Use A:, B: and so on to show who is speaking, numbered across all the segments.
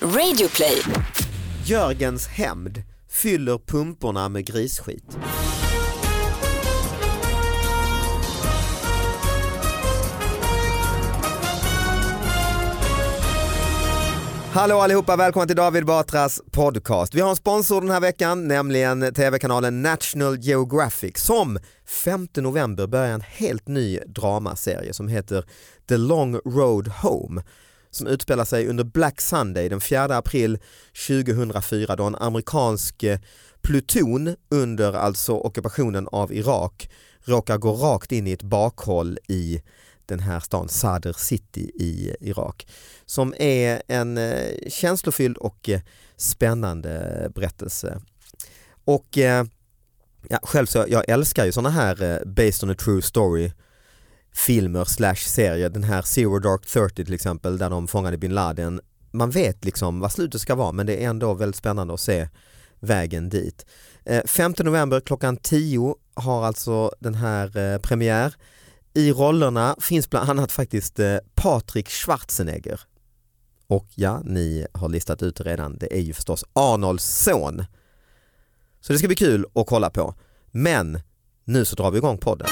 A: Radioplay.
B: Jörgens hämnd fyller pumporna med grisskit. Hallå allihopa, välkomna till David Batras podcast. Vi har en sponsor den här veckan, nämligen tv-kanalen National Geographic som 5 november börjar en helt ny dramaserie som heter The Long Road Home som utspelar sig under Black Sunday den 4 april 2004 då en amerikansk eh, pluton under alltså ockupationen av Irak råkar gå rakt in i ett bakhåll i den här stan Sadr City i Irak som är en eh, känslofylld och eh, spännande berättelse. Och eh, ja, själv så jag älskar ju sådana här eh, based on a true story filmer slash serier, den här Zero Dark Thirty till exempel där de fångade bin Laden. Man vet liksom vad slutet ska vara men det är ändå väldigt spännande att se vägen dit. Eh, 5 november klockan 10 har alltså den här eh, premiär. I rollerna finns bland annat faktiskt eh, Patrik Schwarzenegger. Och ja, ni har listat ut det redan, det är ju förstås Arnolds son. Så det ska bli kul att kolla på. Men nu så drar vi igång podden.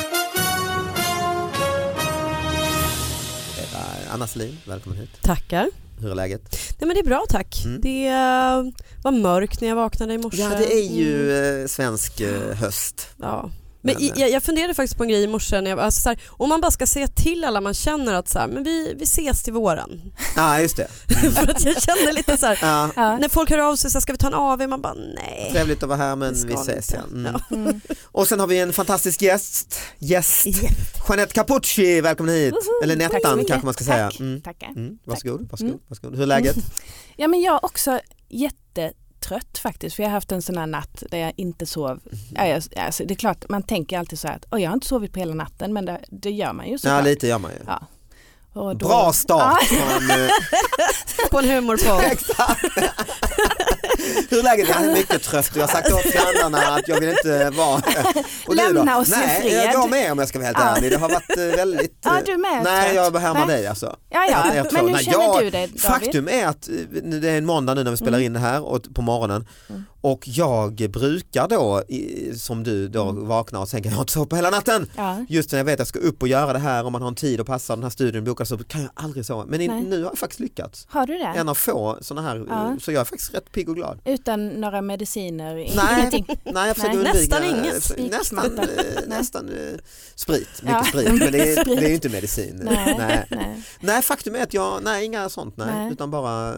B: Eva, Anna Selin, välkommen hit.
C: Tackar.
B: Hur är läget?
C: Nej men det är bra tack.
B: Mm.
C: Det eh, var mörkt när jag vaknade i morse.
B: Ja, det är
C: Mm,
B: ju eh, svensk eh, höst.
C: ja. Men
B: Men,
C: i,
B: eh,
C: jag, jag funderade faktiskt på en grej i morse. När jag, alltså så här, om man bara ska säga till alla man känner att så här, men vi, vi ses till våren.
B: Ja, just det.
C: För att jag känner lite så här,
B: Ja,
D: Ja.
C: när folk hör av sig så här, ska vi ta en AW? Man bara nej.
B: trevligt att vara här men
C: det ska
B: vi ses
C: inte.
B: sen. Mm.
C: Ja.
D: Mm.
B: Och sen har vi en fantastisk gäst. Gäst. Jeanette Capucci, välkommen hit.
D: Woho!
B: Eller
D: Tack så
B: Nettan
D: mycket.
B: kanske man ska säga.
D: Tack.
B: Mm.
D: Tackar.
B: Mm. Varsågod, varsågod, varsågod. Hur är läget?
D: Ja men jag är också jättetrött faktiskt för jag har haft en sån här natt där jag inte sov. Ja, jag, alltså, det är klart man tänker alltid så här att "Oj, jag har inte sovit på hela natten men det, det gör man ju
B: Ja
D: såklart.
B: lite gör man ju.
D: Ja. Och då-
B: Bra start! från, eh,
C: På en humorpodd.
B: Exakt. Hur är läget? Jag är mycket trött och jag har sagt åt grannarna att jag vill inte vara... Och du då?
D: Lämna oss i
B: Nej,
D: fred.
B: jag går med om jag ska vara helt
D: Ja.
B: ärlig. Det har varit eh, väldigt...
D: Ja
B: eh,
D: du är med
B: Nej
D: trött.
B: jag härmar
D: Nej.
B: dig alltså.
D: Ja
B: Att er
D: ja
B: två-
D: men hur
B: Nej,
D: känner
B: jag-
D: du dig David?
B: Faktum är att eh, nu- det är en måndag nu när vi spelar in det här och på morgonen
D: Mm.
B: och jag brukar då i- som du då
D: Mm.
B: vakna och tänka jag har inte sovit på hela natten.
D: Ja.
B: Just när jag vet att jag ska upp och göra det här om man har en tid att passa den här studien bokad så kan jag aldrig sova. Men i-
D: Nej.
B: nu har jag faktiskt lyckats.
D: Har du det?
B: En av få sådana här, eh,
D: Ja.
B: så jag är faktiskt rätt pigg och glad.
D: Utan några mediciner?
B: Nej.
D: Ingenting?
B: Nej, jag försöker
D: Nej,
B: undvika,
C: nästan inget.
B: f- Nästan,
D: Spikmatta.
B: eh,
D: Nej.
B: nästan eh, sprit, mycket
D: Ja.
B: sprit, men det är,
D: Sprit.
B: det är ju inte medicin.
D: Nej.
B: Nej.
D: Nej.
B: Nej, faktum är att jag, nej inga sånt, nej,
D: Nej.
B: utan bara eh,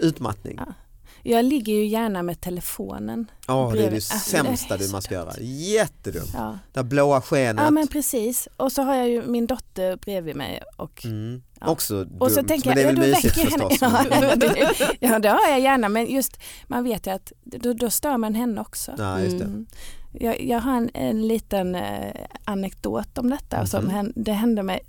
B: utmattning.
D: Ja. Jag ligger ju gärna med telefonen.
B: Ja, det är det
D: Blir- alltså, det
B: sämsta
D: är
B: du
D: så
B: man ska
D: dumt.
B: göra. Jättedumt.
D: Ja.
B: Det här blåa skenet.
D: ja men precis och så har jag ju min dotter bredvid mig och
B: mm.
D: Ja.
B: Också dumt,
D: Och så tänker
B: men
D: jag,
B: det är
D: ja,
B: väl
D: då
B: mysigt
D: väcker jag henne.
B: förstås.
D: Ja,
B: men-
D: det- ja, det har jag gärna men just man vet ju att då, då stör man henne också.
B: Ja, just det.
D: Mm. Jag, jag har en, en liten eh, anekdot om detta som
B: Mhm.
D: hän- det hände mig.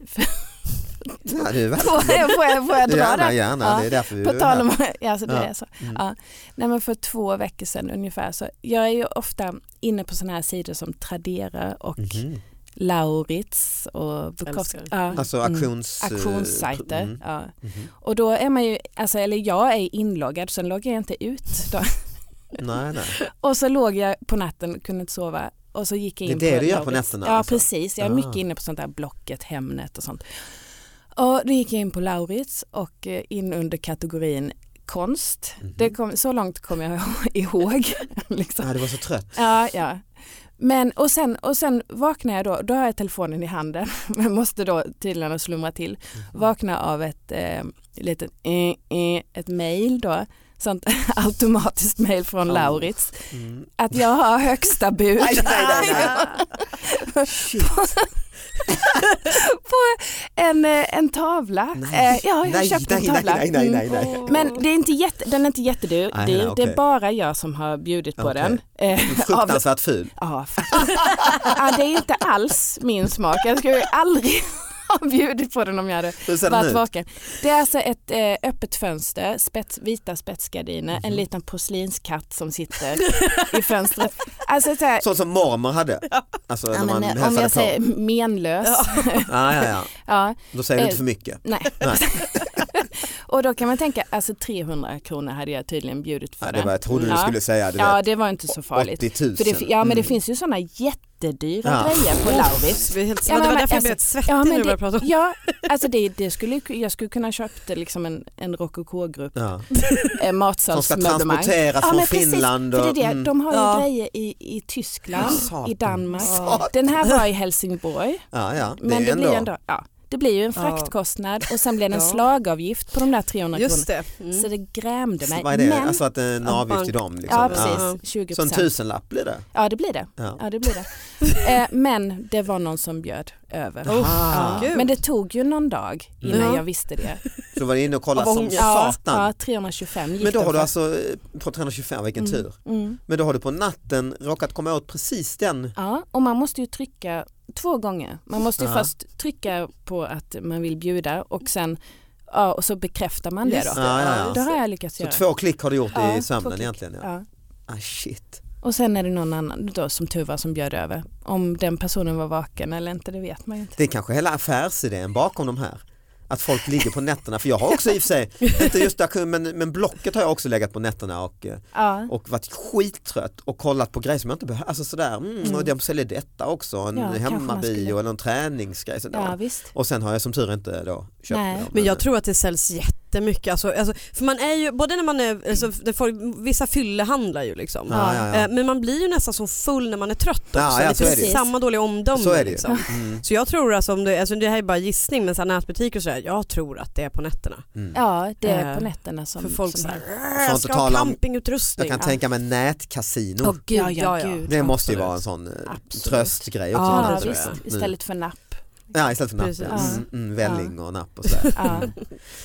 B: Ja, det är väl.
D: får, jag, får, jag, får jag dra
B: Gärna,
D: den?
B: gärna.
D: Ja.
B: Det är därför vi
D: På
B: är
D: tal
B: här.
D: om, ja, alltså det
B: Ja.
D: är så.
B: Mm.
D: Ja. Nej, men för två veckor sedan ungefär så, jag är ju ofta inne på sådana här sidor som Tradera och
B: Mhm.
D: Lauritz och Bukowski.
C: Älskar.
D: Ja,
B: Alltså
D: mm.
B: auktions... eh,
D: Auktionssajter.
B: mm,
D: Ja.
B: mhm.
D: Och då är man ju, alltså, eller jag är inloggad, sen loggar jag inte ut. Då.
B: Nej, nej.
D: Och så låg jag på natten, kunde inte sova och så gick jag
B: Det är
D: in
B: det
D: på
B: du gör på
D: Lauritz.
B: nätterna.
D: Ja
B: alltså.
D: precis, jag är
B: Ah.
D: mycket inne på sånt där Blocket, Hemnet och sånt. Och då gick jag in på Lauritz och eh, in under kategorin konst.
B: Mhm.
D: Det kom, så långt kommer jag ihåg. liksom.
B: Ja, du var så trött.
D: Ja, ja. Men, och, sen, och sen vaknar jag då, då har jag telefonen i handen, men måste då tydligen slumra till.
B: Mm-hmm.
D: Vakna av ett eh, litet eh, eh, ett mail då, sånt automatiskt mail från
B: Ja.
D: Lauritz,
B: Mm.
D: att jag har högsta bud.
B: Nej, nej, nej, nej. Shit.
D: en, eh, en tavla.
B: Nej.
D: Eh, ja, jag har
B: Nej,
D: köpt
B: nej,
D: en tavla.
B: nej, nej, nej,
D: Mm.
B: nej.
D: Men det är inte jätte, den är inte jättedyr,
B: Nej,
D: dyr.
B: nej,
D: det
B: okej.
D: är bara jag som har bjudit på
B: Okej.
D: den. Eh, av
B: Fruktansvärt ful.
D: Ja, faktiskt. ja, det är inte alls min smak. Jag skulle ju aldrig ha bjudit på den om jag hade
B: Hur ser den
D: varit
B: ut?
D: vaken. Det är alltså ett eh, öppet fönster, spets, vita spetsgardiner,
B: Mhm.
D: en liten porslinskatt som sitter i fönstret. Alltså så här,
B: Sånt som mormor hade. Alltså
D: ja,
B: när
D: men,
B: man
D: eh, om
B: hälsade
D: jag
B: på.
D: säger menlös.
B: Ja, ja, ja.
D: Ja,
B: Då säger du inte
D: Eh,
B: för mycket.
D: nej.
B: Nej.
D: och då kan man tänka, alltså 300 kronor hade jag tydligen bjudit för
B: Ja,
D: den.
B: det var, jag trodde du
D: Ja.
B: skulle säga du
D: Ja
B: vet,
D: det var inte så farligt.
B: 80 000.
D: För det, fi- ja men det
B: Mm.
D: finns ju sådana jättedyra
B: Ja.
D: grejer på Lauritz.
C: Vi är helt,
D: Ja,
C: men det
D: men-
C: var därför jag
D: alltså-
C: blev helt svettig
D: Ja,
C: när
D: men
C: du
D: det,
C: började prata om
D: ja, alltså det, det skulle, ju- jag skulle kunna köpt liksom en, en rokokogrupp,
B: Ja.
D: eh,
B: Som ska
D: matsalsmöblemang.
B: transporteras från
D: men precis,
B: Finland.
D: För det är
B: Och,
D: det,
B: mm.
D: de har ju
C: Ja.
D: grejer i, i Tyskland,
B: Satan.
D: i Danmark.
B: Satan.
D: Den här var i Helsingborg.
B: ja, ja. Det
D: Men
B: är
D: det,
B: ändå.
D: blir ändå, ja, det blir ju en
C: Ja.
D: fraktkostnad och sen blir det en
C: Ja.
D: slagavgift på de där 300
C: Just det.
D: kronorna. Så
C: Mm.
D: det grämde mig.
B: Vad är det?
D: Men,
B: alltså att det är en
C: Ja,
B: avgift
C: bank-
B: till dem. Liksom.
D: ja
C: Ja.
D: precis, 20
B: Så en tusenlapp blir det.
D: Ja det blir det.
B: Ja.
D: Ja, det blir det. eh, men det var någon som bjöd över.
B: Oh,
D: ja.
C: gud.
D: Ah. Men det tog ju någon dag innan
C: Ja.
D: jag visste det.
B: Så du var inne och kollade
C: Av
B: som
C: ångest.
D: Ja,
B: satan.
D: ja 325 gick
B: Men då
D: de
B: har du
D: för.
B: alltså, eh, på 325, vilken
D: Mm.
B: tur.
D: Mm.
B: Men då har du på natten råkat komma åt precis den.
D: Ja, och man måste ju trycka två gånger. Man måste ju
B: Ja.
D: först trycka på att man vill bjuda och sen ja, och så bekräftar man det
C: Just det.
D: då.
B: Ja, ja,
C: Ja,
B: ja.
D: Det har jag lyckats
B: Så
D: göra.
B: två klick har du gjort
D: Ja,
B: i
D: två
B: sömnen
D: klick.
B: egentligen. Ja.
D: Ja.
B: Ah, shit.
D: Och sen är det någon annan då, som tur var som bjöd över. Om den personen var vaken eller inte, det vet man ju inte.
B: Det är kanske hela affärsidén bakom de här. Att folk ligger på nätterna, för jag har också i och för sig, inte just där, men, men Blocket har jag också legat på nätterna och, eh,
D: Ja.
B: och varit skittrött och kollat på grejer som jag inte behöver. Alltså sådär, mm,
D: Mm.
B: och de säljer detta också, en
D: Ja, kanske man
B: hemmabio
D: skulle-
B: eller en träningsgrej. Sådär.
D: Ja, visst.
B: Och sen har jag som tur inte då köpt
D: Nej.
B: dem.
C: Men jag tror att det säljs jättemycket. Alltså, alltså, för man är ju, både när man är, alltså, det får, vissa fyllehandlar ju liksom.
B: Mm. Ja, ja, ja.
C: Eh, Men man blir ju nästan så full när man är trött också.
B: Ja, ja,
C: det
B: så
C: finns
D: är det ju.
C: samma dåliga omdöme.
B: Så är det ju.
C: liksom.
B: Mm,
C: Så jag tror alltså, om det, alltså det här är bara gissning men så här nätbutiker och sådär, jag tror att det är på nätterna.
B: mm.
D: Ja, det är på
C: Eh,
D: nätterna som...
C: för folk
D: som
C: så här,
B: Får
C: jag
B: inte
C: ska ha
B: tala om-
C: campingutrustning.
B: Jag kan
C: Ja.
B: tänka mig nätkasino.
D: Åh, gud, ja,
C: Ja, ja, ja.
D: gud.
B: det måste ju
D: absolut.
B: vara en sån eh,
D: Absolut.
B: tröstgrej också.
C: Ja,
B: nu,
D: Ja,
B: tror jag.
D: visst. Istället för napp.
B: Nu. Ja, istället för napp.
C: Precis.
B: Ja. Mm, mm, välling och napp och sådär.
D: Ja.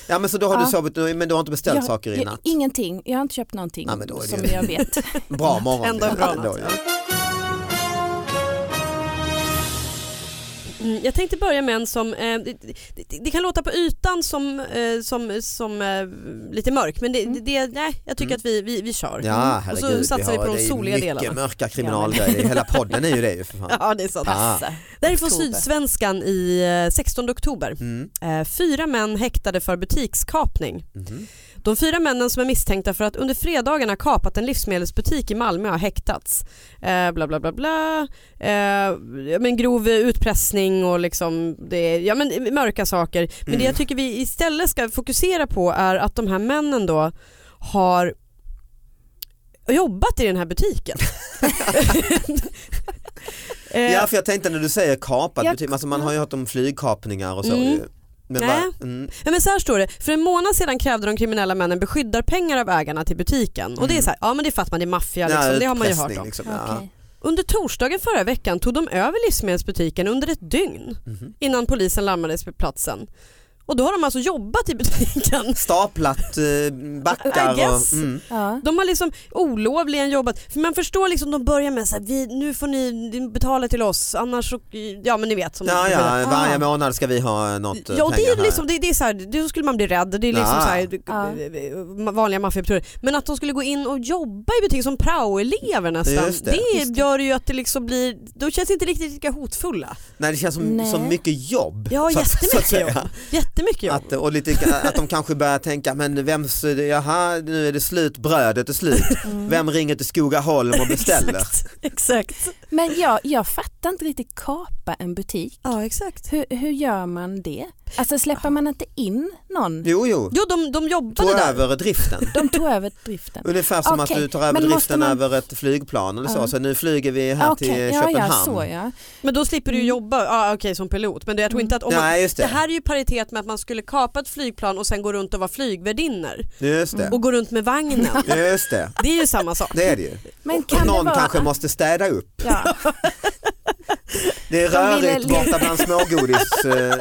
B: Ja men så då har du
D: Ja.
B: sovit, men du har inte beställt
D: Jag-
B: saker i
D: jag-
B: natt.
D: Ingenting, jag har inte köpt någonting
B: Ja, men då är det
D: som
B: ju-
D: jag vet.
B: Bra morgon.
C: Ändå en bra natt.
B: ja.
C: Mm, jag tänkte börja med en som, eh, det, det, det kan låta på ytan som, eh, som, som eh, lite mörk men det,
D: Mm.
C: det, nej, jag tycker
B: Mm.
C: att vi, vi, vi kör. Mm.
B: Ja,
C: Och så
B: herregud.
C: satsar vi på
B: har-
C: de
B: det är
C: soliga
B: mycket
C: delarna.
B: mörka kriminalgrejer. Hela podden är ju det ju för fan.
C: Ja, det är sant.
B: Ah.
C: Det här är från
D: Oktober.
C: Sydsvenskan i eh, 16 oktober.
B: Mm.
C: Eh, Fyra män häktade för butikskapning.
B: Mhm.
C: De fyra männen som är misstänkta för att under fredagen ha kapat en livsmedelsbutik i Malmö har häktats. Eh, bla bla bla bla. Eh, ja, men grov eh, utpressning och liksom det, är- ja, men eh, mörka saker. Men
B: Mm.
C: det jag tycker vi istället ska fokusera på är att de här männen då har jobbat i den här butiken. Eh,
B: Ja för jag tänkte när du säger kapat,
D: Jag-
B: betyder- alltså man har ju hört om flygkapningar och så
C: Mm.
B: ju. Men
C: Nej.
B: vad- mm.
C: Ja, men så här står det, för en månad sedan krävde de kriminella männen beskyddarpengar av ägarna till butiken. Och det är så här, ja men det fattar man, det är maffia liksom, det har man ju hört
B: utpressning,
C: om.
B: Liksom.
D: Okej.
C: Under torsdagen förra veckan tog de över livsmedelsbutiken under ett dygn
B: Ja. Mhm.
C: innan polisen larmades på platsen. Och då har de alltså jobbat i butiken.
B: Staplat eh, backar
C: I guess.
B: och... Mm.
D: Ja.
C: De har liksom olovligen jobbat, för man förstår liksom de börjar med så här, vi, nu får ni betala till oss annars så, ja men ni vet. Som
B: Ja, ja, varje
D: Ah.
B: månad ska vi ha något eh,
C: Ja, och det är
B: pengar här.
C: liksom, det, det är så här, det, då skulle man bli rädd. Det är liksom
B: Ja.
C: så här, eh, vanliga maffiakulturer. Men att de skulle gå in och jobba i butik som praoelever nästan,
B: Just det.
C: det, gör ju att det liksom blir, då känns det inte riktigt lika hotfulla.
B: Nej det känns som,
D: Nej.
B: som mycket jobb.
C: Ja,
B: så att-
C: jättemycket
B: så att säga.
C: jobb. Jättemycket jobb.
B: Att, och lite, att de kanske börjar tänka, men vems, jaha nu är det slut, brödet är slut.
D: Mm.
B: Vem ringer till Skogaholm och beställer?
C: Exakt. exakt.
D: Men jag, jag fattar inte riktigt kapa en butik.
C: Ja, exakt.
D: Hur, hur gör man det? Alltså släpper man inte in någon?
B: Jo, jo,
C: Jo, de, de
B: tog
C: jobbade där.
B: över driften.
D: De tog över driften.
B: Ungefär som
D: Okej,
B: att du tar över
D: men måste
B: driften
D: man-
B: över ett flygplan eller så.
D: Ja.
B: Så nu flyger vi här
D: Okej,
B: till
D: ja,
B: Köpenhamn.
D: ja, så ja.
C: Men då slipper du
D: Mm.
C: jobba ah, okej, som pilot. Men jag tror
D: Mm.
C: inte att om man,
B: Nej, just det.
C: det här är ju paritet med att man skulle kapa ett flygplan och sen gå runt och vara flygvärdinnor
B: Just
D: Mm.
B: det.
C: och gå runt med vagnen.
B: Just det.
C: Det är ju samma sak.
B: Det är det ju.
D: Men kan
B: Någon
D: det vara...
B: kanske måste städa upp.
D: Ja.
B: Det är
D: De ville
B: rörigt
D: le-
B: borta bland smågodis. Eh,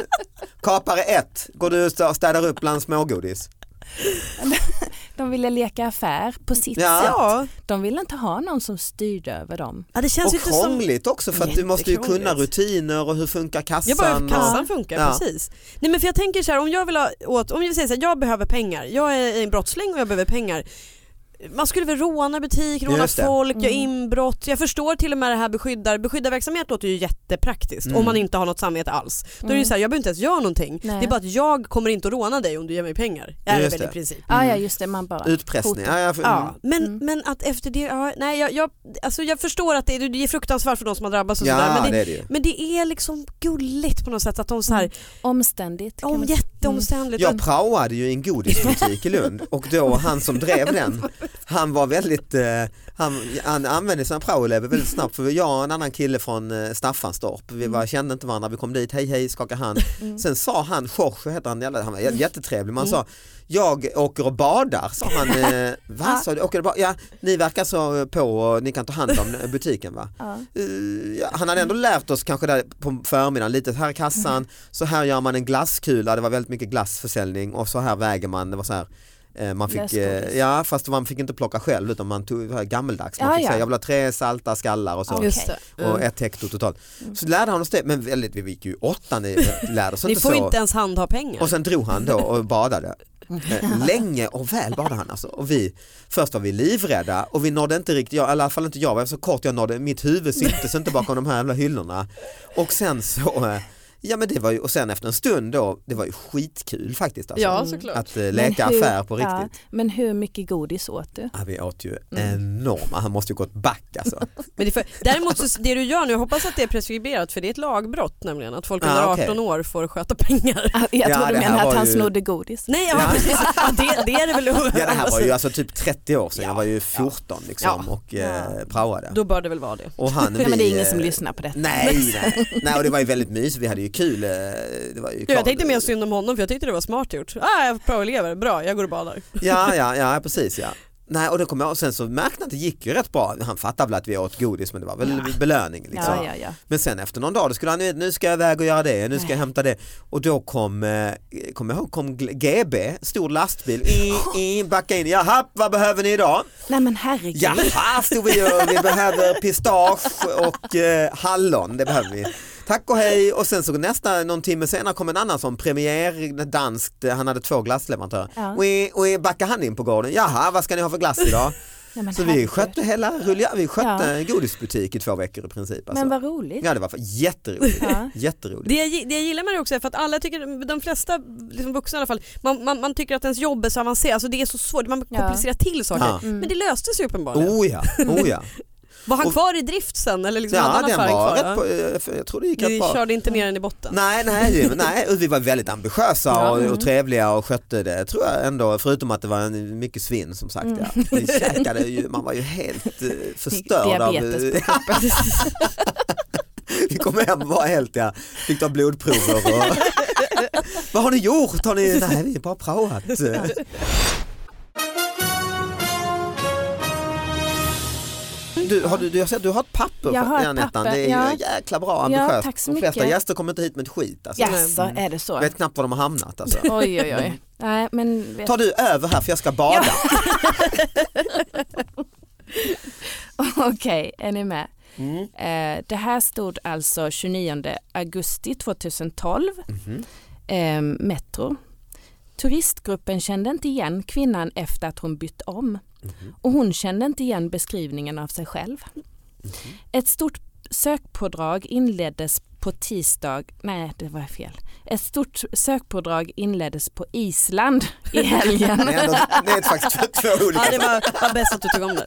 B: Kapare 1, går du och städar upp bland smågodis?
D: De ville leka affär på sitt
B: Ja.
D: sätt.
C: Ja.
D: De ville inte ha någon som styrde över dem.
C: Ja, det känns
B: och
C: ju Alltså, inte som...
B: krångligt också för att du måste ju kunna
C: Jättekrångligt.
B: rutiner och hur funkar kassan.
C: Jag bara, hur
B: och...
C: kassan funkar,
B: Ja.
C: precis. Nej men för jag tänker så här, om jag vill ha åt, om jag säger så här, jag behöver pengar, jag är en brottsling och jag behöver pengar. man skulle väl råna butik, råna
B: Just det.
C: folk, göra
D: Mm.
C: inbrott. Jag förstår till och med det här beskyddar, beskyddarverksamhet låter ju jättepraktiskt
B: Mm.
C: om man inte har något samvete alls. Då är det ju
D: Mm.
C: så här, jag behöver inte ens göra någonting.
D: Nej.
C: Det är bara att jag kommer inte att råna dig om du ger mig pengar. Är det
B: Just
C: väl i
B: det.
C: princip.
D: Ah,
B: Mm.
D: ja just det, man bara.
B: Utpressning.
D: Hotet.
B: Ja, jag,
C: Ja,
B: mm.
C: men,
D: Mm.
C: men att efter det, ja, nej jag, jag, alltså jag förstår att det, det är fruktansvärt för de som har drabbats och sådär
B: mm. ja
C: men det,
B: det är det ju.
C: men det är liksom gulligt på något sätt att de så här,
D: Omständigt. kan
C: om
D: man-
C: jätteomständligt.
B: Jag praoade ju i en godisbutik i Lund och då han som drev den, han var väldigt, eh, han, han använde sina praoelever väldigt snabbt för jag och en annan kille från eh, Staffanstorp, vi var, kände inte varandra, vi kom dit, hej hej, skaka hand. Sen sa han, Jorge heter han, jävla- han var jä- jättetrevlig, man sa jag åker och badar, sa han. eh, Va, sa du? Åker du ba- ja, ni verkar så på och ni kan ta hand om butiken va?
D: Ja.
B: Eh, ja, han hade ändå lärt oss kanske där på förmiddagen, lite här i kassan, så här gör man en glasskula, det var väldigt mycket glassförsäljning och så här väger man, det var så här eh, man fick,
D: Lösgodis.
B: eh, ja fast man fick inte plocka själv utan man tog det här gammeldags, man
D: Ja,
B: fick
D: ja.
B: säga jag vill ha tre salta skallar och så.
D: Ja,
C: Just det.
B: Och
C: Mm.
B: ett hekto totalt. Så lärde han oss det, men väldigt, vi gick ju i åttan, i- lärde oss
C: Ni
B: inte
C: får
B: så.
C: ju inte ens handha pengar.
B: Och sen drog han då och badade. Eh, Länge och väl badade han alltså. Och vi, först var vi livrädda och vi nådde inte riktigt, jag, i alla fall inte jag, jag var så kort jag nådde, mitt huvud syntes inte bakom de här jävla hyllorna. Och sen så, eh, ja men det var ju, och sen efter en stund då, det var ju skitkul faktiskt alltså.
C: ja såklart.
B: Att eh,
D: Men
B: leka
D: hur-
B: affär på
D: ja,
B: riktigt.
D: men hur mycket godis åt du?
B: Ja, vi åt ju
D: Mm.
B: enorma, han måste ju gått back alltså.
C: Men det är för, däremot så, det du gör nu, jag hoppas att det är prescriberat för det är ett lagbrott nämligen att folk
B: Ah,
C: under 18
B: okej.
C: år får sköta pengar.
D: Ah, Jag
B: Ja,
D: tror
B: det
D: du
B: här
D: menar
B: var
D: att han
B: ju-
D: snodde godis.
C: Nej ja,
B: Ja.
C: precis, ja, det, det är det väl.
B: Ja det här var ju alltså typ 30 år sedan, jag var ju 14 liksom
C: Ja.
B: och eh, praoade.
C: Då bör det väl vara det.
B: Och han,
D: Ja, men det är ingen
B: eh,
D: som lyssnar på detta.
B: Nej, nej. nej och det var ju väldigt mysigt, vi hade ju kul. eh, Det var ju
C: Ja,
B: klart-
C: jag tänkte mer synd om honom för jag tyckte det var smart gjort. Ah, jag har bra elever, bra jag går och badar.
B: Ja, ja, ja precis ja. Nej, och, då kom jag, och sen så märkte han att det gick ju rätt bra. Han fattade väl att vi åt godis men det var väl belöning. Liksom.
D: Ja, ja, ja.
B: Men sen efter någon dag då skulle han ju- nu ska jag iväg och göra det, nu ska jag hämta det. Och då kom, eh, kom jag ihåg, kom gl- GB, stor lastbil, i, i, backa in, jaha vad behöver ni idag?
D: Nej men herregud.
B: Jaha stod vi och vi behöver pistage och eh, hallon, det behöver vi. Tack och hej och sen så nästa någon timme senare kom en annan som premiär danskt, eh, han hade två glassleverantörer.
D: Ja.
B: Och, och backade han in på gården, jaha vad ska ni ha för glass idag?
D: Nej, men
B: Så vi
D: herregud.
B: skötte hela rulja, vi skötte en godisbutik i två veckor i princip. Alltså.
D: Men vad roligt.
B: Ja det var fa- jätteroligt,
D: Ja.
B: jätteroligt.
C: Det jag, gi- det jag gillar med det också är för att alla tycker, de flesta liksom vuxna i alla fall, man, man, man tycker att ens jobb är så avancerat, alltså det är så svårt, man
D: Ja.
C: komplicerar till saker.
B: Ja.
D: Mm.
C: Men det löstes ju uppenbarligen.
B: Oh ja, oh ja.
C: Var han
B: och-
C: kvar i drift sen eller liksom hade
B: ja
C: han
B: den
C: affären
B: var
C: kvar?
B: rätt, på, eh, för jag tror det gick
C: Ni
B: rätt bra.
C: körde inte mer än i botten?
B: Nej, nej, men nej, vi var väldigt ambitiösa
C: Ja.
B: och,
D: Mm.
B: och trevliga och skötte det tror jag ändå, förutom att det var en, mycket svinn som sagt. Ja.
D: Mm.
B: Vi käkade ju, man var ju helt eh, förstörd. Av,
D: Diabetes
B: vi kom hem och var helt, ja, fick ta blodprover och vad har ni gjort? Har ni, nej, vi har bara praoat. Du har, du, du, har sett- du har ett papper
D: Jag har ett
B: Janettan.
D: papper,
B: det är
D: ja.
B: ju jäkla bra
D: Ja,
B: ambitiöst.
D: tack så
B: De flesta
D: mycket.
B: gäster kommer inte hit med ett skit. Alltså.
D: Jaså, är det så?
B: Jag vet knappt var de har hamnat alltså.
D: Oj, oj, oj. Nej, men vet...
B: Ta du över här för jag ska bada.
D: Okej, är ni med? Eh, det här stod alltså 29 augusti 2012, eh, Metro. Turistgruppen kände inte igen kvinnan efter att hon bytt om och hon kände inte igen beskrivningen av sig själv. Ett stort sökpådrag inleddes på tisdag, nej det var fel. Ett stort sökpådrag inleddes på Island i helgen.
B: Det, är ändå, det är faktiskt två olika.
C: Ja, det var, var bäst att du tog om det.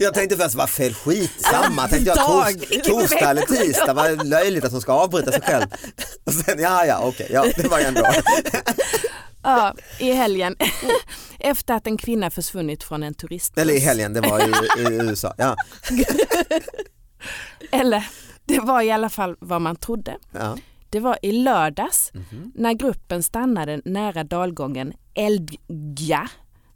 B: Jag tänkte först, vad fel skitsamma, tänkte jag
C: Dag.
B: tors, torsdag eller tisdag, vad löjligt att hon ska avbryta sig själv. Och sen, ja ja okej, ja, det var ju ändå.
D: Ja, i helgen. Efter att en kvinna försvunnit från en turistbuss.
B: Eller i helgen, det var i, i USA. Ja,
D: Eller, det var i alla fall vad man trodde.
B: ja.
D: Det var i lördags
B: Mhm.
D: när gruppen stannade nära dalgången Elgja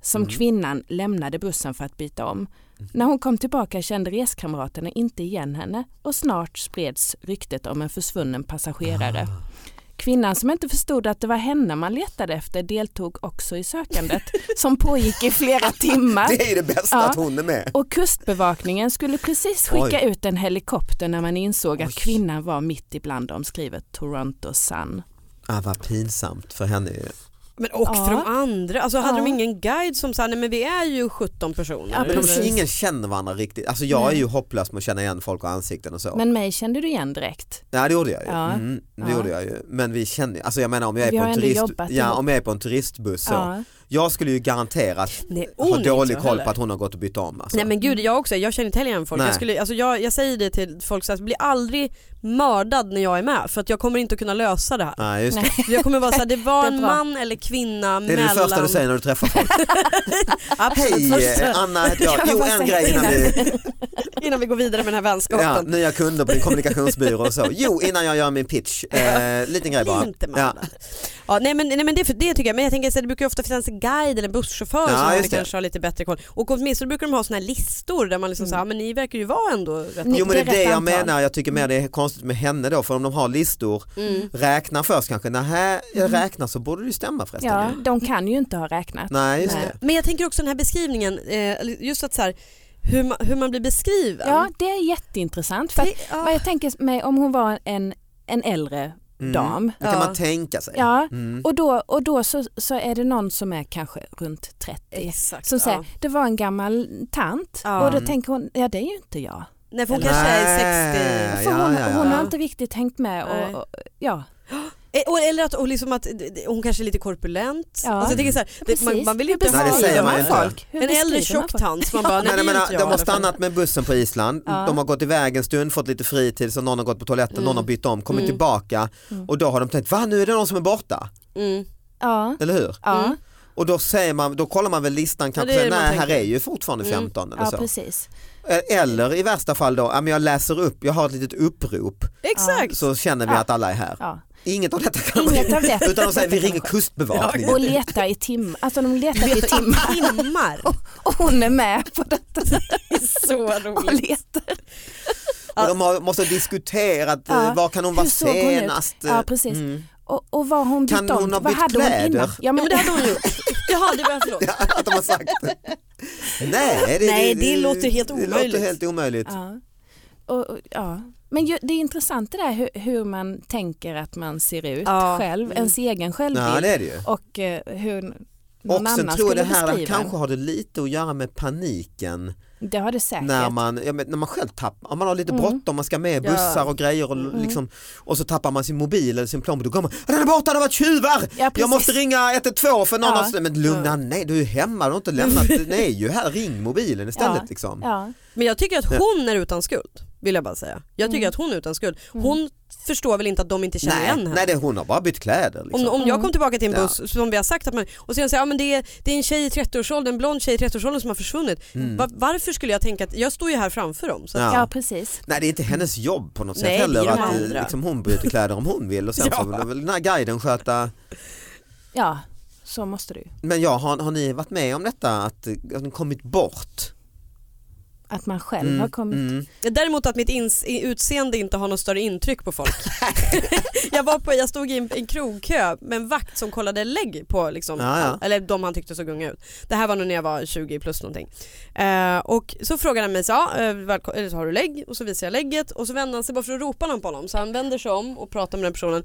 D: som
B: Mm.
D: kvinnan lämnade bussen för att byta om.
B: Mhm.
D: När hon kom tillbaka kände reskamraterna inte igen henne och snart spreds ryktet om en försvunnen passagerare.
B: Ah.
D: Kvinnan som inte förstod att det var henne man letade efter deltog också i sökandet som pågick i flera timmar.
B: Det är ju det bästa
D: Ja.
B: att hon är med.
D: Och kustbevakningen skulle precis skicka
B: Oj.
D: ut en helikopter när man insåg
B: Oj.
D: att kvinnan var mitt ibland dem, skriver Toronto Sun.
B: Ah, vad pinsamt för henne ju.
C: Men och
D: Ja.
C: för de andra, alltså hade
D: Ja.
C: de ingen guide som sa nej men vi är ju 17 personer.
D: Ja,
B: Men
D: precis.
B: de, ingen känner varandra riktigt. Alltså jag är
D: Nej.
B: ju hopplös med att känna igen folk och ansikten och så.
D: Men mig kände du igen direkt.
B: ja det gjorde jag ju.
D: Ja.
B: Mm, det
D: Ja.
B: gjorde jag ju. Men vi känner, alltså jag menar om jag är,
D: Vi
B: på
D: har
B: en,
D: ändå
B: turist,
D: jobbat
B: ja,
D: ihop.
B: om jag är på en turistbuss så.
D: Ja. Oh,
B: Jag skulle ju garanterat
C: Nej,
B: ha
C: hon är inte
B: dålig
C: så
B: koll
C: heller.
B: på att hon har gått och bytt om. Alltså.
C: Nej men gud jag också, jag känner inte heller igen folk.
B: Nej.
C: Jag, skulle, alltså jag, jag säger det till folk, så här, bli aldrig mördad när jag är med för att jag kommer inte att kunna lösa det här.
B: Nej, just det.
D: Nej.
C: Jag kommer bara säga det var
D: Det är
C: en
D: bra.
C: man eller kvinna
B: Det är
C: mellan...
B: det första du säger när du träffar folk.
C: Absolut
B: Hej,
C: första.
B: eh, Anna heter jag.
D: Kan jag
B: Jo,
D: bara
B: en
D: säga
B: grej innan vi
C: Innan vi går vidare med den här
B: Ja,
C: vänskapen.
B: nya kunder på din kommunikationsbyrå och så. Jo, innan jag gör min pitch. Eh, liten grej bara.
C: Bli inte
B: Ja.
C: mördad. Ja, nej men, nej, men det, det tycker jag, men jag tänker så här, det brukar ju ofta finnas en guide eller en busschaufför
B: Ja,
C: som man
B: just det.
C: kanske har lite bättre koll. Och åtminstone brukar de ha såna här listor där man liksom
D: Mm.
C: säger, men ni verkar ju vara ändå rätt...
D: Ni-
B: Jo men det är
D: det är
B: det
D: rätt
B: jag
D: antal.
B: menar, jag tycker mer det är konstigt med henne då för om de har listor,
C: Mm.
B: räkna först kanske, nej jag räknar så borde Alltså, det ju stämma förresten.
D: Mm. Ja, de kan ju inte ha räknat.
B: Nej just
D: Nej.
B: det.
C: Men jag tänker också den här beskrivningen, eh, just att så här, hur, man, hur man blir
B: Mm.
C: beskriven.
D: Ja, det är jätteintressant. För att,
C: Det- ja.
D: vad jag tänker mig om hon var en, en äldre
B: Mm.
D: dam.
B: Det kan
C: Ja.
B: man tänka sig.
D: Ja,
B: Mm.
D: och då, och då så, så är det någon som är kanske runt 30.
C: Exakt.
D: Som säger,
C: ja.
D: det var en gammal tant
C: Ja.
D: och
B: Mm.
D: då tänker hon, ja det är ju inte jag.
C: Nej för hon
D: Eller-
C: kanske
B: Nej.
C: är 60.
D: För
B: Ja,
D: hon,
B: ja, ja.
D: hon
C: Ja.
D: har inte riktigt hängt med.
C: Nej.
D: Och, och, ja.
C: Eh, och- Eller att, och liksom att d- d- hon kanske är lite korpulent.
D: Ja.
C: Alltså, jag tänker så här, det, man,
D: Precis.
C: man vill ju
D: Hur
C: inte
B: Nej, det
C: ha
B: säger man ju inte.
D: folk? Hur
C: en äldre
D: beskriver man
C: tjock
D: folk?
C: tant som man
B: Nej,
C: bara, nej, det
B: jag
C: är ju
B: menar,
C: inte jag
B: de
C: i
B: har
C: alla fall.
B: stannat med bussen på Island,
D: Ja.
B: de har gått iväg en stund, fått lite fritid, så någon har gått på toaletten, någon har bytt om, kommit
C: Mm.
B: tillbaka
D: Mm.
B: och då har de tänkt, va nu är det någon som är borta,
C: Mm.
D: Ja.
B: eller hur?
D: Ja.
C: Mm.
B: Och då, säger man, då kollar man väl listan kanske,
C: det är
B: säger,
C: det man
B: nej här
C: tänker.
B: är ju fortfarande
C: Mm.
B: 15 eller
D: ja,
B: så. Eh,
D: precis.
B: Eller i värsta fall då, ja, men jag läser upp, jag har ett litet upprop
C: Exakt.
B: så känner vi
D: Ja.
B: att alla är här.
D: Ja.
B: Inget av detta kan
D: Inget av det.
B: Utan de säger vi ringer kustbevakningen.
D: Och letar i timmar, alltså de letar i timmar
C: Timmar.
D: och hon är med på detta
C: Det är så
D: och
C: roligt.
D: letar.
B: Och de har, måste ha diskuterat
D: Ja.
B: ja. var kan hon
D: Hur
B: vara
D: såg hon ut?
B: senast.
D: Ja, precis.
B: Mm.
D: Och, och vad har hon bytt
B: Kan hon
D: om?
B: ha
D: Vad
B: bytt
D: hade
B: kläder?
D: hon innan? Ja,
C: Ja
D: men,
C: men det hade hon gjort. Jaha det var förlåt.
B: Ja, att de har sagt det. Nej, det,
C: Nej, det låter helt
B: Det låter
C: omöjligt.
B: helt omöjligt.
D: ja. Och, och, ja. men ju, det är intressant det där hur, hur man tänker att man ser ut
C: Ja.
D: själv,
C: Mm.
D: ens egen självbild
B: Ja, det är det ju.
D: och eh, hur någon
B: Och sen
D: annan
B: tror jag
D: skulle
B: det här
D: beskriva
B: kanske
D: kanske...
B: har det lite att göra med paniken
D: Det har det säkert.
B: när man, ja, men när man själv tappar, om man har lite
D: Mm.
B: bråttom, man ska med
C: Ja.
B: bussar och grejer och,
D: Mm.
B: liksom, och så tappar man sin mobil eller sin plånbok, då går man, "Ah, den är borta, det har varit tjuvar!
D: ja,
B: Jag måste ringa 112 för någon
D: Ja.
B: har... Men lugna nej du är hemma, du har inte lämnat, nej ju här, ring mobilen istället
D: Ja.
B: liksom.
D: ja.
C: Men jag tycker att
B: Ja.
C: hon är utan skuld. Vill jag bara säga. Jag tycker
D: Mm.
C: att hon är utan skuld.
D: Mm.
C: Hon förstår väl inte att de inte känner igen
B: Nej,
C: henne.
B: nej det, hon har bara bytt kläder. Liksom.
C: Om, om jag
D: Mm.
C: kom tillbaka till en
B: Ja.
C: buss som vi har sagt att man, och sen säger ja, men det, är, det är en tjej i 30-årsåldern, en blond tjej i 30-årsåldern som har försvunnit.
B: Mm.
C: Va- varför skulle jag tänka att jag står ju här framför dem. Så att,
B: Ja.
D: ja, precis.
B: Nej det är inte hennes jobb på något
C: Mm. Nej,
B: sätt
C: det är
B: heller
C: de
B: att eh,
C: andra.
B: liksom, hon byter kläder om hon vill och sen
C: Ja.
B: får väl den här guiden sköta.
D: Ja, så måste du.
B: Men ja, har, har ni varit med om detta att, eh, att ni kommit bort?
D: Att man själv
B: Mm,
D: har kommit.
B: mm.
C: Däremot att mitt ins, i- utseende inte har något större intryck på folk. jag, var på, jag stod i en, en krogkö med en vakt som kollade lägg på liksom,
B: Ja, ja.
C: all- eller de han tyckte såg unga ut. Det här var nog när jag var 20 plus någonting. Eh, och så frågade han mig, så, ja, eh, välko- eller så har du lägg? Och så visade jag lägget och så vände han sig bara för att ropa någon på honom. Så han vänder sig om och pratar med den personen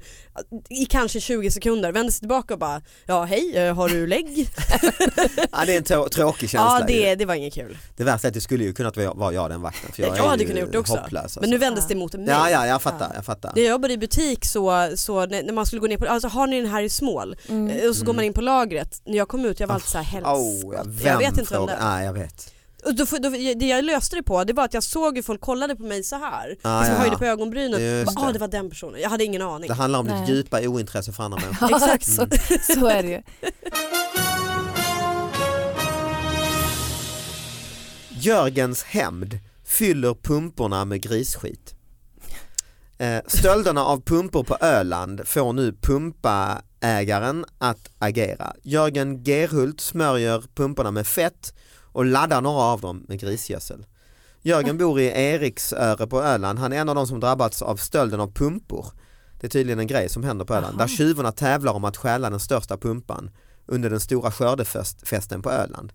C: eh, i kanske 20 sekunder, vänder sig tillbaka och bara ja hej, eh, har du lägg?
B: Ja, det är en trå- tråkig känsla.
C: ja
B: ju.
C: det, det var inget kul.
B: det värsta är att det skulle ju kunnat vara- vara jag den vakten. För
C: Ja,
B: jag,
C: jag
B: är
C: hade
B: ju
C: kunnat gjort det också.
B: Hopplös, alltså.
C: Men nu vändes
D: Ja.
C: det mot mig.
B: Ja, ja, jag fattar. Jag fattar.
C: När jag jobbade i butik så, så när, när man skulle gå ner på, alltså har ni den här i small?
D: Mm.
C: Eh, Och så går man in på lagret, när jag kom ut jag var alltid såhär helst.
B: Oh, ja, vem
C: Jag vet inte vem det
B: frågar?
C: Alltså, är.
B: Nej, jag vet.
C: Och då, får- då, det jag löste det på det var att jag såg hur folk kollade på mig så här.
B: Ah,
C: liksom
B: ja,
C: höjde
B: ja.
C: på ögonbrynen.
B: Just
C: Ja ah,
B: det.
C: det var den personen, jag hade ingen aning.
B: Det handlar om ditt
D: Nej.
B: djupa ointresse för andra människor.
D: Ja,
C: Exakt.
D: Så, så är det ju.
B: Jörgens hämnd fyller pumporna med grisskit. Eh, Stölderna av pumpor på Öland får nu pumpaägaren att agera. Jörgen Gerhult smörjer pumporna med fett och laddar några av dem med grisgödsel. Jörgen bor i Eriksöre på Öland. Han är en av de som drabbats av stölden av pumpor. Det är tydligen en grej som händer på Öland. Där tjuvarna tävlar om att stjäla den största pumpan under den stora skördefesten på Öland.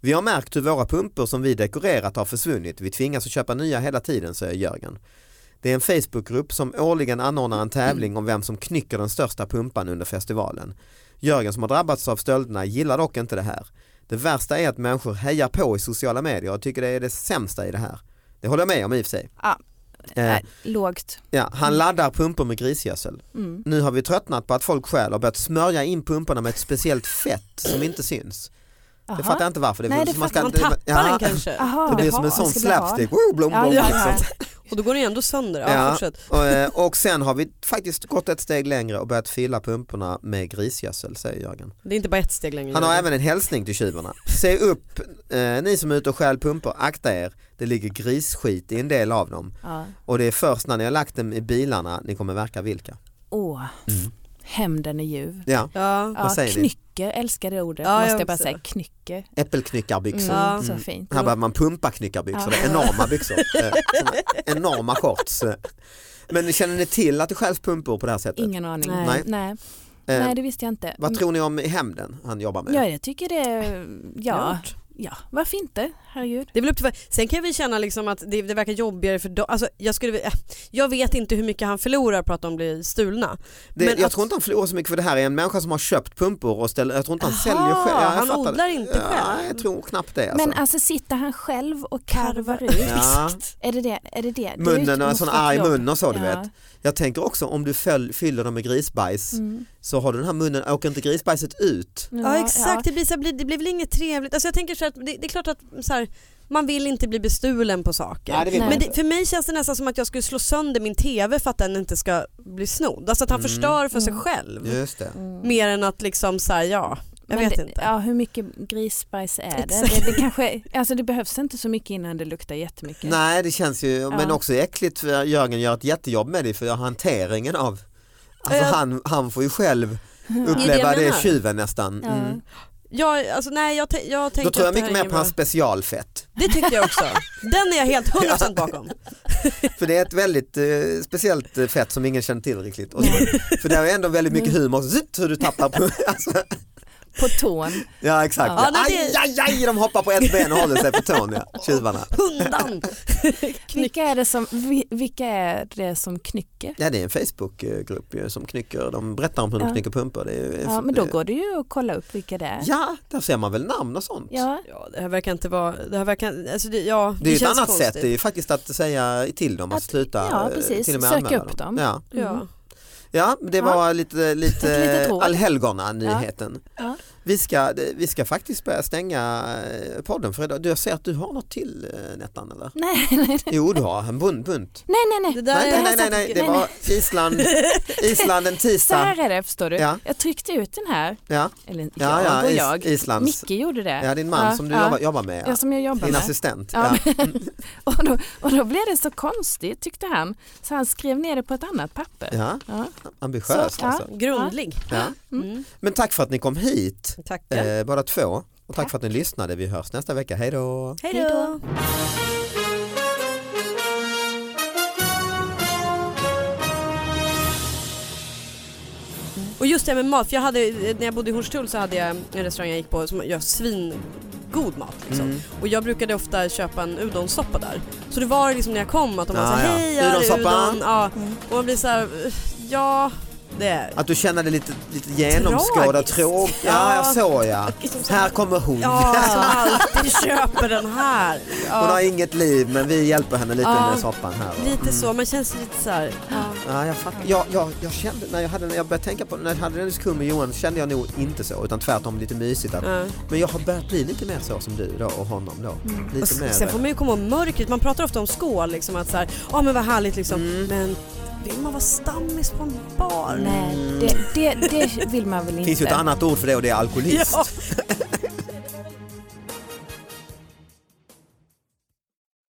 B: Vi har märkt hur våra pumpor som vi dekorerat har försvunnit. Vi tvingas att köpa nya hela tiden, säger Jörgen. Det är en Facebookgrupp som årligen anordnar en tävling om vem som knycker den största pumpan under festivalen. Jörgen som har drabbats av stölderna gillar dock inte det här. Det värsta är att människor hejar på i sociala medier och tycker det är det sämsta i det här. Det håller jag med om i och för sig.
D: Ja.
B: Eh,
D: Nej, lågt.
B: ja, han laddar pumpor med grisgödsel.
D: Mm.
B: Nu har vi tröttnat på att folk stjäl och börjat smörja in pumporna med ett speciellt fett som inte syns. Det fattar jag inte varför. Det
D: Nej,
B: blir
D: det
B: som man
D: fattar-
C: Man
B: ska-
C: tappar den
B: Ja,
C: kanske
D: Aha,
B: Det blir som en
D: jaha,
B: sån typ.
D: skulle jag ha?
B: slapstick. Woo, blom,
D: Ja,
B: blom,
D: ja,
B: liksom.
D: ja.
C: och då går det ju ändå sönder. Ja,
B: Ja.
C: Fortsätt.
B: Och, eh, Och sen har vi faktiskt gått ett steg längre och börjat fylla pumporna med grisgödsel säger Jörgen.
C: Det är inte bara ett steg längre.
B: Han har
C: Jörgen.
B: även en hälsning till tjuvarna. Se upp, eh, ni som är ute och stjäl pumpor, akta er. Det ligger grisskit i en del av dem.
D: Ja.
B: Och det är först när ni har lagt dem i bilarna ni kommer märka vilka.
D: Åh, hämnden är ljuv.
B: Ja,
C: Ja.
D: Ja,
B: säger ni?
D: knycker, älskar det ordet.
C: Ja, jag
D: måste jag
C: också.
D: bara säga, knycker.
B: äppelknyckarbyxor.
D: Mm,
C: Ja.
D: Så
B: Mm.
D: fint.
B: Här behöver man pumpaknyckarbyxor, det är enorma byxor. Eh, såna enorma shorts. eh. Men känner ni till att det stjäls pumpor på det här sättet?
D: Ingen aning.
C: Nej.
D: Nej. Nej.
B: Eh,
D: det visste jag inte. Mm.
B: Vad tror ni om hämnden han jobbar med?
D: Ja, jag tycker det, ja,
C: Klart.
D: ja, varför inte? Herregud.
C: Det är väl upp till Sen kan vi känna liksom att det, det verkar jobbigare för dem. Alltså, jag, skulle, vilja- jag vet inte hur mycket han förlorar på att de blir stulna.
B: Det,
C: Men
B: jag
C: att-
B: tror inte han förlorar så mycket för det här är en människa som har köpt pumpor och ställer, jag tror inte han
C: Aha,
B: säljer själv. Ja, jag
C: han
B: fattar det.
C: odlar inte
B: Ja,
C: själv.
B: jag tror knappt det. Alltså.
D: Men alltså sitter han själv och karvar ut?
B: Ja.
D: Är det det? Är det det? det är ju
B: Munnen
D: ett
B: och en sån
D: ofattbart
B: arg
D: jobb.
B: mun och så du
D: Ja.
B: vet. Jag tänker också om du föl, fyller dem med grisbajs
D: Mm.
B: så har du den här munnen, åker inte grisbajset ut?
C: Ja, exakt, Det, blir, så här, blir- det blir väl inget trevligt. Alltså, jag tänker så här, att det, det är klart att så här, man vill inte bli bestulen på saker.
B: Nej, det vill man
C: Men
B: inte.
C: det, för mig känns det nästan som att jag skulle slå sönder min TV för att den inte ska bli snodd. Alltså att han
B: Mm.
C: förstör för sig
D: Mm.
C: själv.
B: Just det.
D: Ja. Mm.
C: Mer än att liksom så här, ja, jag
D: Men
C: vet
D: det,
C: inte.
D: Ja, hur mycket grisbajs är det?
C: Exakt.
D: Det, det, kanske, alltså det behövs inte så mycket innan det luktar jättemycket.
B: Nej det känns ju, men
D: Ja.
B: också äckligt för Jörgen gör ett jättejobb med det för hanteringen av Alltså
C: Ja.
B: han, han får ju själv uppleva
C: jag
B: det,
C: menar.
B: tjuven nästan.
D: Ja.
B: Mm.
C: Jag, alltså, nej, jag, tän- jag tänker
B: Då tror jag
C: att det här
B: mycket
C: är
B: mer
C: inget
B: på hans
C: bra.
B: specialfett.
C: Det tycker jag också. Den är jag helt 100% bakom.
B: För det är ett väldigt eh, speciellt eh, fett som ingen känner till riktigt. Och så, för det är ändå väldigt mycket
D: Mm.
B: humor, Zitt, hur du tappar på... Alltså,
D: På tån.
B: ja exakt,
C: Ja, nej,
B: aj,
C: det-
B: aj, aj, de hoppar på ett ben och håller sig på tån, ja, tjuvarna.
C: Hundan!
D: Vilka är det som, vi- vilka är det som knycker?
B: Ja det är en Facebookgrupp ju som knycker, de berättar om hur de
D: Ja.
B: knycker pumpor. Det är,
D: Ja, men då går det ju att kolla upp vilka det är.
B: Ja, där ser man väl namn och sånt.
D: Ja.
C: Ja, det här verkar inte vara, det här verkar, alltså det, ja,
B: Det är ett
C: känns
B: annat
C: konstigt.
B: sätt, det är ju faktiskt att säga till dem att,
D: Att-
B: sluta
D: ja,
B: eh,
D: precis.
B: till och med
D: Söka
B: anmäla
D: upp
B: dem.
D: dem.
B: Ja,
C: Ja.
B: ja men det
D: Ja.
B: var lite,
D: Ett
B: lite
D: litet råd.
B: allhelgona-nyheten.
D: Ja.
B: Vi ska, vi ska faktiskt börja stänga eh, podden för idag. Jag ser att du har något till eh, Nettan eller?
D: Nej, nej,
B: Jo du har en bunt. bunt.
D: nej, nej,
C: Det
D: nej.
C: där
B: Nej, nej, nej,
C: är
B: nej, nej, det var Island, Island en
D: Så
B: tisdag.
D: här är det förstår du.
B: Ja.
D: Jag tryckte ut den här,
B: Ja,
D: eller
B: ja,
D: jag
B: ja
D: och
B: is,
D: jag.
B: Islands,
D: Micke gjorde det.
B: ja din man som du
D: ja.
B: jobbar, jobbar med.
D: Ja,
B: Ja.
D: som jag jobbar
B: Din
D: med.
B: assistent. Ja.
D: Ja. Och, då, och då blev det så konstigt tyckte han. Så han skrev ner det på ett annat papper.
B: Ja,
D: Ja.
B: ambitiöst
D: Så, ja.
B: alltså.
C: Grundlig.
B: Ja.
C: Mm.
B: Men tack för att ni kom hit
C: Tackar.
B: eh, båda två. Och tack för att ni lyssnade. Vi hörs nästa vecka. Hej då!
C: Hej då. Och just det här med mat, för jag hade, eh, när jag bodde i Hornstull så hade jag en restaurang jag gick på som gör svingod mat. Liksom.
B: Mm.
C: Och jag brukade ofta köpa en udonsoppa där. Så det var liksom när jag kom att de var
B: Ah,
C: såhär,
B: ja.
C: hej jag är
B: Udonsoppa." Mm.
C: udon. Ja. Och man blir såhär, ja det är
B: Att du känner dig lite, lite genomskådad,
C: Tragiskt.
B: tråkig. Ja, jag såg ja. Här kommer hon.
C: Ja, som alltid köper den här.
B: Hon har
C: Ja,
B: inget liv men vi hjälper henne lite
C: Ja.
B: med soppan här. va?
C: lite så, man känns lite så här.
B: Ja, jag, fattar. Jag, jag, jag kände när jag, hade, när jag började tänka på när jag hade den diskussionen med Johan så kände jag nog inte så utan tvärtom lite mysigt. Att,
C: Ja.
B: Men jag har börjat bli lite mer så som du då och honom då.
C: Mm. Och
B: Lite mer.
C: s- sen får man ju komma ihåg mörkret, man pratar ofta om skål, liksom att så här, ja men vad härligt liksom.
B: Mm.
C: Men vill man vara stammis på en bar?
D: Nej, det, det, det vill man väl
B: det
D: inte.
B: finns ju ett annat ord för det och det är alkoholist.
C: Ja.